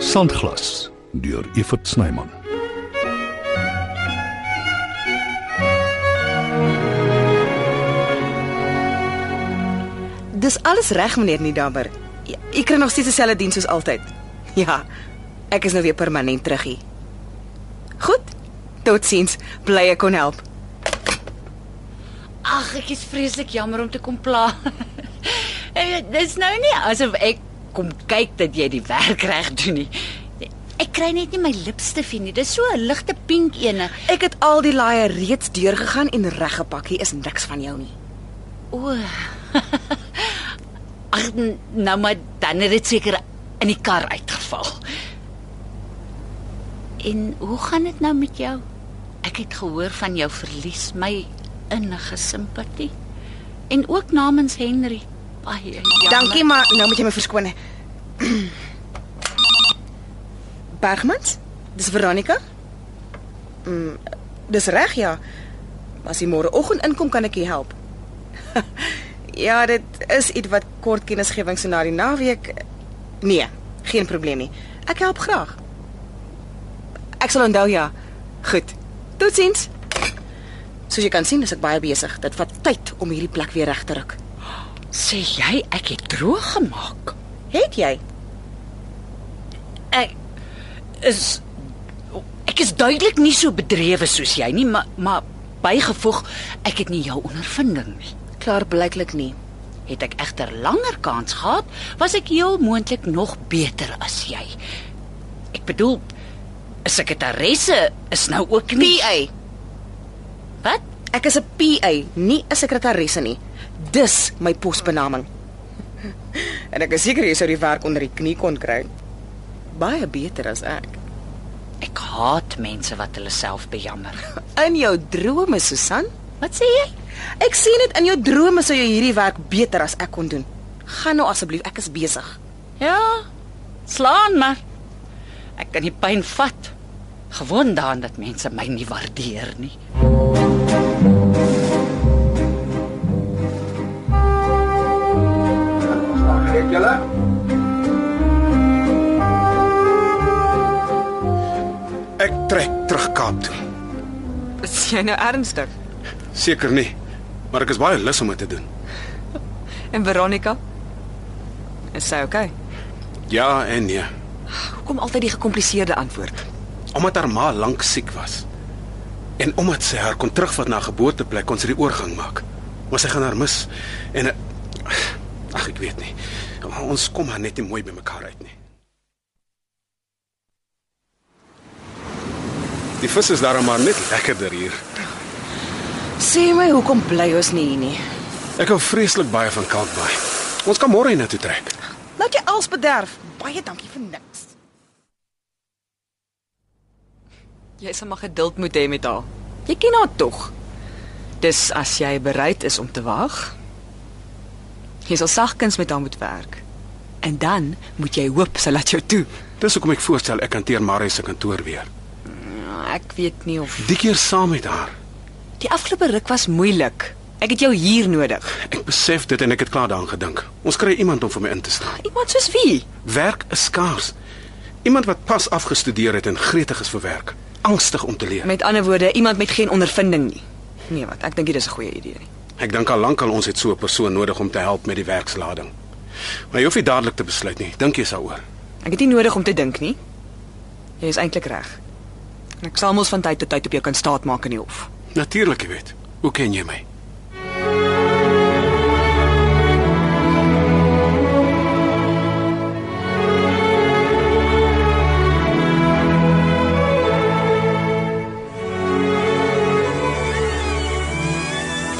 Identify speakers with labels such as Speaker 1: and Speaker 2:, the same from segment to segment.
Speaker 1: Sandglas deur Evert Snyman.
Speaker 2: Dis alles reg meneer Niedamber. Ek kry nog steeds dieselfde diens soos altyd. Ja. Ek is nou weer permanent terug hier. Goed. Totsiens. Bly ek kon help.
Speaker 3: Ag, ek is vreeslik jammer om te kom pla. Eh, Dis nou nie asof ek kom kyk dat jy die werk reg doen nie. Ek kry net nie my lipstifie nie. Dis so 'n ligte pink ene.
Speaker 2: Ek het al die laaie reeds deurgegaan en reggepak. Hier is niks van jou nie.
Speaker 3: O. Ag, n- nou maar dan het dit seker in die kar uitgeval. En hoe gaan dit nou met jou? Ek het gehoor van jou verlies, my innige simpatie. En ook namens Henry. Baie jammer.
Speaker 2: Dankie, maar nou moet jy my verskoon. Bergmans? Dis Veronica? Mm, dis reg, ja. As jy môreoggend inkom, kan ek jou help. ja, dit is iets wat kort kennisgewing so na die naweek. Nee, geen probleem nie. Ek help graag. Ek sal onthou, ja. Goed. Totsiens. Soos jy kan sien, is ek baie besig. Dit vat tyd om hierdie plek weer reg te ruk.
Speaker 3: Sê jy ek het droog gemaak?
Speaker 2: Het jy?
Speaker 3: Ek is ek is duidelik nie so bedrewe soos jy nie, maar maar bygevoeg ek het nie jou ondervinding nie.
Speaker 2: Klaar blyklik nie.
Speaker 3: Het ek egter langer kans gehad, was ek heel moontlik nog beter as jy. Ek bedoel 'n sekretaresse is nou ook nie
Speaker 2: PA.
Speaker 3: Wat?
Speaker 2: Ek is 'n PA, nie 'n sekretaresse nie. Dis my posbenaming. en ek is seker jy sou die werk onder die knie kon kry. Baie beter as ek.
Speaker 3: Ek haat mense wat hulle self bejammer.
Speaker 2: In jou drome, Susan?
Speaker 3: Wat sê jy?
Speaker 2: Ek sien dit in jou drome sou jy hierdie werk beter as ek kon doen. Gaan nou asseblief, ek is besig.
Speaker 3: Ja, slaan maar. Ek kan die pyn vat. Gewoond daaraan dat mense my nie waardeer nie.
Speaker 4: Kyk julle. Ek trek terug Kaap toe.
Speaker 2: Is jy nou ernstig?
Speaker 4: Seker nie, maar ek is baie lus om dit te doen.
Speaker 2: En Veronica? Is sy okay?
Speaker 4: Ja en nee,
Speaker 2: Hoekom altyd die gekompliseerde antwoord?
Speaker 4: omdat haar ma lank siek was. En omdat sy haar kon terugvat na haar geboorteplek, kon sy die oorgang maak. Maar sy gaan haar mis en ag ek weet nie. Ons kom haar net nie mooi by mekaar uit nie. Die vis is daarom maar net lekkerder hier.
Speaker 2: Sê my, hoekom bly ons nie hier nie?
Speaker 4: Ek hou vreeslik baie van Kalkbaai. Ons kan môre hiernatoe trek.
Speaker 2: Laat jy als bederf. Baie dankie vir niks.
Speaker 5: Jy sal maar geduld moet hê met haar. Jy ken haar tog. Dis as jy bereid is om te wag. Jy sal sagkens met haar moet werk. En dan moet jy hoop sy laat jou toe.
Speaker 4: Dis hoekom ek voorstel ek hanteer Marie se kantoor weer.
Speaker 5: Ah, Ek weet nie of
Speaker 4: Die keer saam met haar.
Speaker 5: die afgelope ruk was moeilik. Ek het jou hier nodig.
Speaker 4: Ek besef dit en ek het klaar daaraan gedink. Ons kry iemand om vir my in te staan.
Speaker 5: Iemand soos wie?
Speaker 4: Werk is skaars. Iemand wat pas afgestudeer het en gretig is vir werk, angstig om te leer.
Speaker 5: Met ander woorde, iemand met geen ondervinding nie. Nee, wat? Ek dink dit is 'n goeie idee nie.
Speaker 4: Ek dink al lankal ons het so 'n persoon nodig om te help met die werkslading. Maar jy hoef nie dadelik te besluit nie. Dink jy daaroor?
Speaker 5: Ek het nie nodig om te dink nie. Jy is eintlik reg. En ek sal mos van tyd tot tyd op jou kan staatmaak in die hof.
Speaker 4: Natuurlik, jy weet. Hoe ken jy my?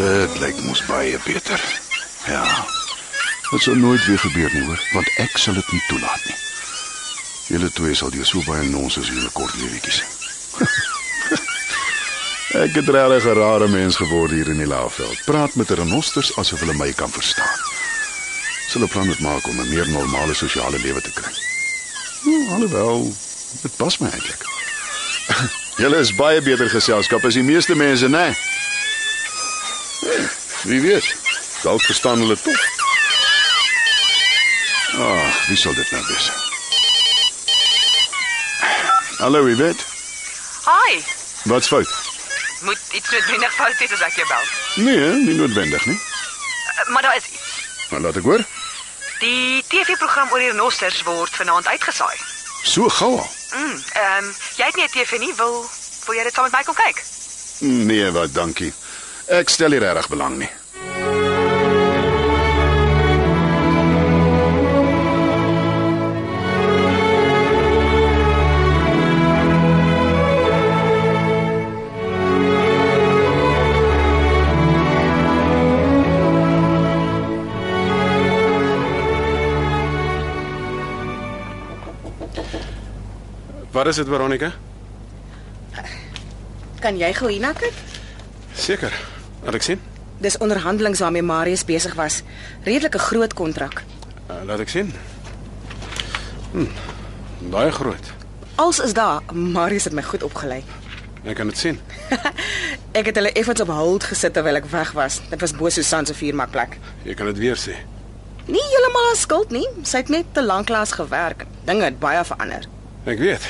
Speaker 6: Dit lyk mos baie beter. Ja. Dit sal nooit weer gebeur nie hoor, want ek sal dit nie toelaat nie. Julle twee sal deur so baie nonsens in julle kort lewetjies. ek het regtig 'n rare mens geword hier in die Laagveld. Praat met renosters asof hulle my kan verstaan. Sal 'n plan moet maak om 'n meer normale sosiale lewe te kry. Nou, alhoewel, dit pas my eintlik. julle is baie beter geselskap as die meeste mense, né? Nee? Wie weet? Dalk verstaan hulle tog. Ah, Ag, wie sal dit nou wees? Hallo, Iwet.
Speaker 5: Hi.
Speaker 6: Wat's fout?
Speaker 5: Moet iets noodwendig fout wees as ek jou bel.
Speaker 6: Nee, nie noodwendig nie.
Speaker 5: Uh, Maar daar is iets.
Speaker 6: Maar laat ek hoor.
Speaker 5: Die TV-program oor die renosters word vanaand uitgesaai.
Speaker 6: So gou al.
Speaker 5: Mm, ehm um, jy het nie 'n TV nie, wil wil jy dit saam met my kom kyk?
Speaker 6: Nee, wat dankie. Ek stel hier regtig belang nie.
Speaker 4: Wat is dit, Veronica?
Speaker 2: Kan jy gou hierna kyk?
Speaker 4: Seker. Laat ek sien.
Speaker 2: Dis onderhandelinge waarmee Marius besig was. Redelike groot kontrak.
Speaker 4: Uh, laat ek sien. Hm. Baie groot.
Speaker 2: Als is daar, Marius het my goed opgelei.
Speaker 4: Ek kan dit sien.
Speaker 2: Ek het hulle effens op hold gesit terwyl ek weg was. Dit was bo Susan se vuurmakplek.
Speaker 4: Jy kan dit weer sê.
Speaker 2: Nie heeltemal haar skuld nie. Sy het net te lank lank gewerk. Dinge het baie verander.
Speaker 4: Ek weet.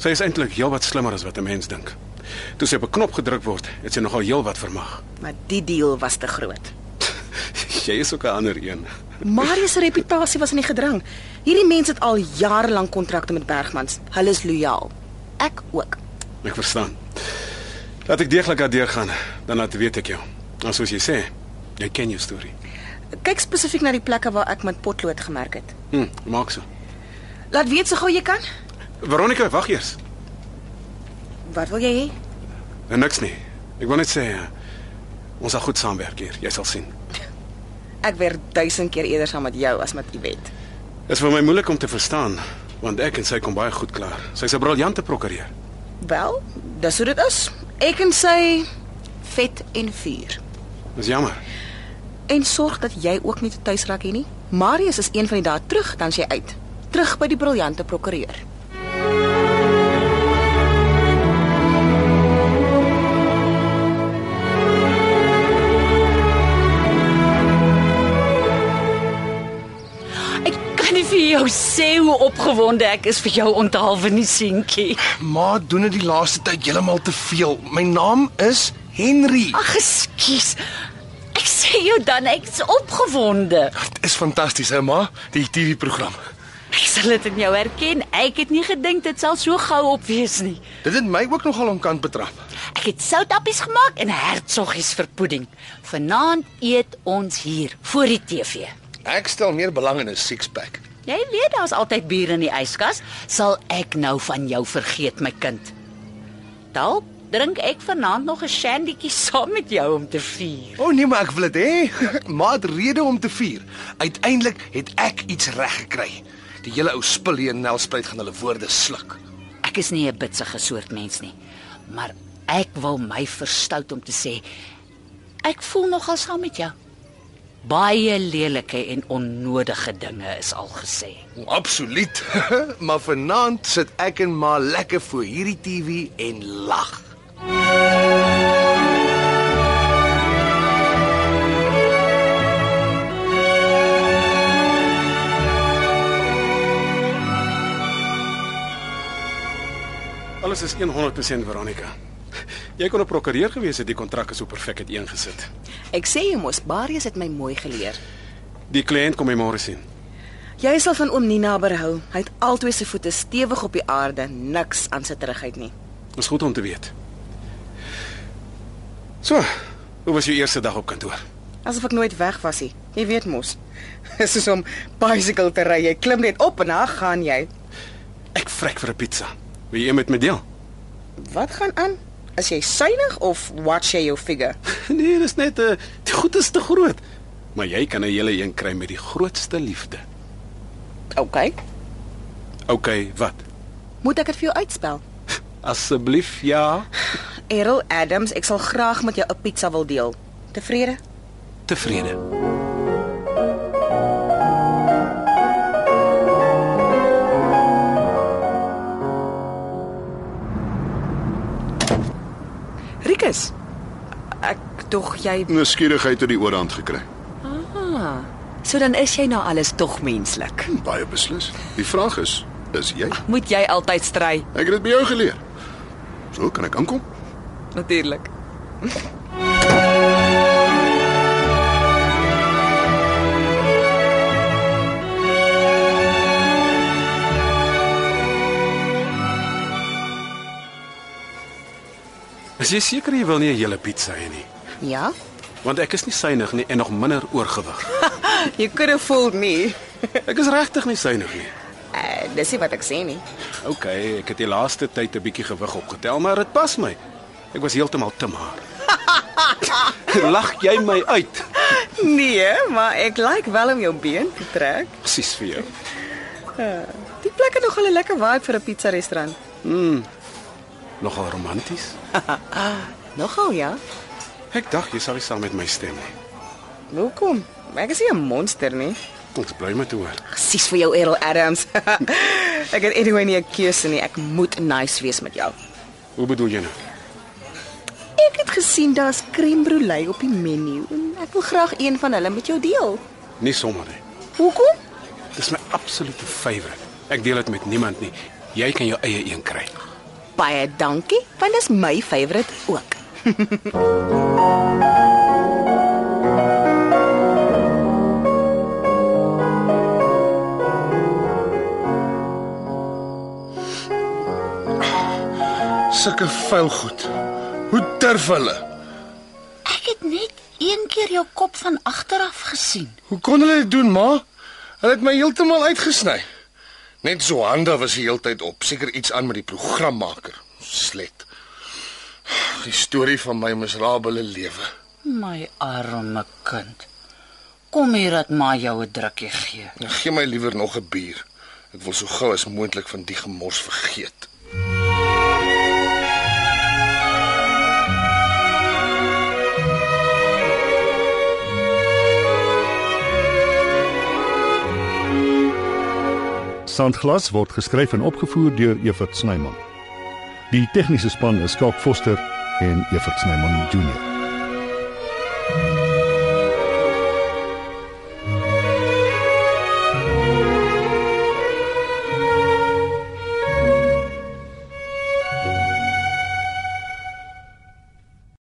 Speaker 4: Sy is eintlik heelwat slimmer as wat 'n mens dink. Toe sy op 'n knop gedruk word, het sy nogal heelwat vermag.
Speaker 2: Maar die deal was te groot.
Speaker 4: Jy is ook 'n ander een.
Speaker 2: Marius se reputasie was in die gedrang. Hierdie mense het al jare lank kontrakte met Bergmans. Hulle is lojaal. Ek ook.
Speaker 4: Ek verstaan. Laat ek deeglik daardeur gaan, dan laat weet ek jou. En soos jy sê, jy ken jou storie.
Speaker 2: Kyk spesifiek na die plekke waar ek met potlood gemerk het.
Speaker 4: Hm, maak so.
Speaker 2: Laat weet so gou jy kan.
Speaker 4: Veronica, wag eers.
Speaker 2: Wat wil jy hê?
Speaker 4: En Nou, niks nie. Ek wil net sê eh, ons sal goed saamwerk hier, jy sal sien.
Speaker 2: Ek werk duisend keer eerder saam met jou as met Iwet.
Speaker 4: Dit is vir my moeilik om te verstaan, want ek en sy kom baie goed klaar. Sy's 'n briljante prokureur.
Speaker 2: Wel, dis hoe dit is. Ek en sy vet en vuur.
Speaker 4: Dis jammer.
Speaker 2: En sorg dat jy ook nie te tuis raak hier nie. Marius is een van die dae terug, dan sy uit. Terug by die briljante prokureur.
Speaker 3: Ek kan nie vir jou sê hoe opgewonde ek is vir jou onthaalwe nie seentjie.
Speaker 7: Ma doen dit die laaste tyd heeltemal te veel. My naam is Henry.
Speaker 3: Ag, ekskuus. Ek sê jou dan ek's opgewonde.
Speaker 7: Dit is fantasties, hè, ma, die TV-program.
Speaker 3: Ek sal dit in jou herken. Ek het nie gedink dit sal so gou op wees nie.
Speaker 7: Dit het my ook nogal omkant betrap.
Speaker 3: Ek het soutappies gemaak en hertsoggies vir pudding. Vanaand eet ons hier voor die TV.
Speaker 7: Ek stel meer belang in 'n six-pack.
Speaker 3: Jy weet daar's altyd bier in die yskas. Sal ek nou van jou vergeet, my kind? Dalk drink ek vanaand nog 'n shandytjie saam met jou om te vier.
Speaker 7: O oh, nee, maar ek wil dit hê. Ma het rede om te vier. Uiteindelik het ek iets reg gekry. Die hele ou spil hier in Nelspruit gaan hulle woorde sluk.
Speaker 3: Ek is nie 'n bitsige soort mens nie, maar ek wil my verstout om te sê ek voel nogal saam met jou. Baie lelike en onnodige dinge is al gesê.
Speaker 7: Absoluut. maar vanaand sit ek en ma lekker voor hierdie TV en lag.
Speaker 4: Alles is 100% Veronica. Jy kon 'n prokureur gewees het, die kontrak is so perfek uiteengesit.
Speaker 2: Ek sê jy mos, Marius het my mooi geleer.
Speaker 4: Die kliënt kom my môre sien.
Speaker 2: Jy sal van oom Nina berhou. Hy het albei sy voete stewig op die aarde, niks aan sy terugheid nie.
Speaker 4: Dis goed om te weet. So, hoe was jou eerste dag op kantoor?
Speaker 2: Asof ek nooit weg was nie. Jy weet mos. Dis soos om bicycle te ry. Jy klim net op en dan gaan jy.
Speaker 4: Ek vrek vir 'n pizza. Wil jy een met my deel?
Speaker 2: Wat gaan aan? Is jy suinig of watch jy jou figure?
Speaker 4: Nee, dis net 'n die goed is te groot. Maar jy kan 'n hele een kry met die grootste liefde.
Speaker 2: OK.
Speaker 4: OK, wat?
Speaker 2: Moet ek dit vir jou uitspel?
Speaker 4: Asseblief, ja.
Speaker 2: Errol Adams, ek sal graag met jou 'n pizza wil deel. Tevrede?
Speaker 4: Tevrede.
Speaker 5: Rikus. Ek tog jy
Speaker 6: Nuuskierigheid het die oorhand gekry.
Speaker 5: Ah. So dan is jy nou alles tog menslik.
Speaker 6: Baie beslis. Hm, Die vraag is, Dis jy?
Speaker 5: Moet jy altyd stry?
Speaker 6: Ek het dit by jou geleer. So kan ek aankom.
Speaker 5: Natuurlik.
Speaker 4: Is jy seker jy wil nie 'n hele pizza hê nie?
Speaker 2: Ja.
Speaker 4: Want ek is nie suinig nie en nog minder oorgewig.
Speaker 2: You could have fooled me.
Speaker 4: Ek is regtig nie suinig nie.
Speaker 2: Uh, dis nie wat ek sê nie.
Speaker 4: OK, ek het die laaste tyd 'n bietjie gewig opgetel, maar dit pas my. Ek was heeltemal te maar. Lag jy my uit?
Speaker 2: Nee, maar ek like wel om jou been te trek.
Speaker 4: Presies vir jou.
Speaker 2: Die plek het nogal 'n lekker vibe vir 'n pizza restaurant.
Speaker 4: Nogal romanties.
Speaker 2: Nogal ja.
Speaker 4: Ek dink jy sal nie saam met my stem nie.
Speaker 2: Hoekom? Ek is nie 'n monster nie.
Speaker 4: Ons bly met hoor.
Speaker 2: Presies vir jou Errol Adams. ek het anyway nie 'n keuse nie. Ek moet nice wees met jou.
Speaker 4: Hoe bedoel jy nou?
Speaker 2: Ek het gesien daar's crème brûlée op die menu en ek wil graag een van hulle met jou deel.
Speaker 4: Nie sommer nie.
Speaker 2: Hoekom?
Speaker 4: Dis my absolute favourite. Ek deel dit met niemand nie. Jy kan jou eie een kry.
Speaker 2: Baie dankie, want dis my favourite ook.
Speaker 7: Sulke vuil goed. Hoe durf hulle?
Speaker 3: Ek het net een keer jou kop van agter af gesien.
Speaker 7: Hoe kon hulle dit doen, ma? Hulle het my heeltemal uitgesny. Net so hande was die heeltyd op, seker iets aan met die programmaker. Slet. Die storie van my miserabele lewe.
Speaker 3: My arme kind. Kom hier dat ma jou 'n drukkie gee.
Speaker 7: Nou gee my liewer nog 'n bier. Ek wil so gou as moontlik van die gemors vergeet.
Speaker 1: Sandglas word geskryf en opgevoer deur Evert Snyman. Die tegniese span is Skalk Foster en Evert Snyman Junior.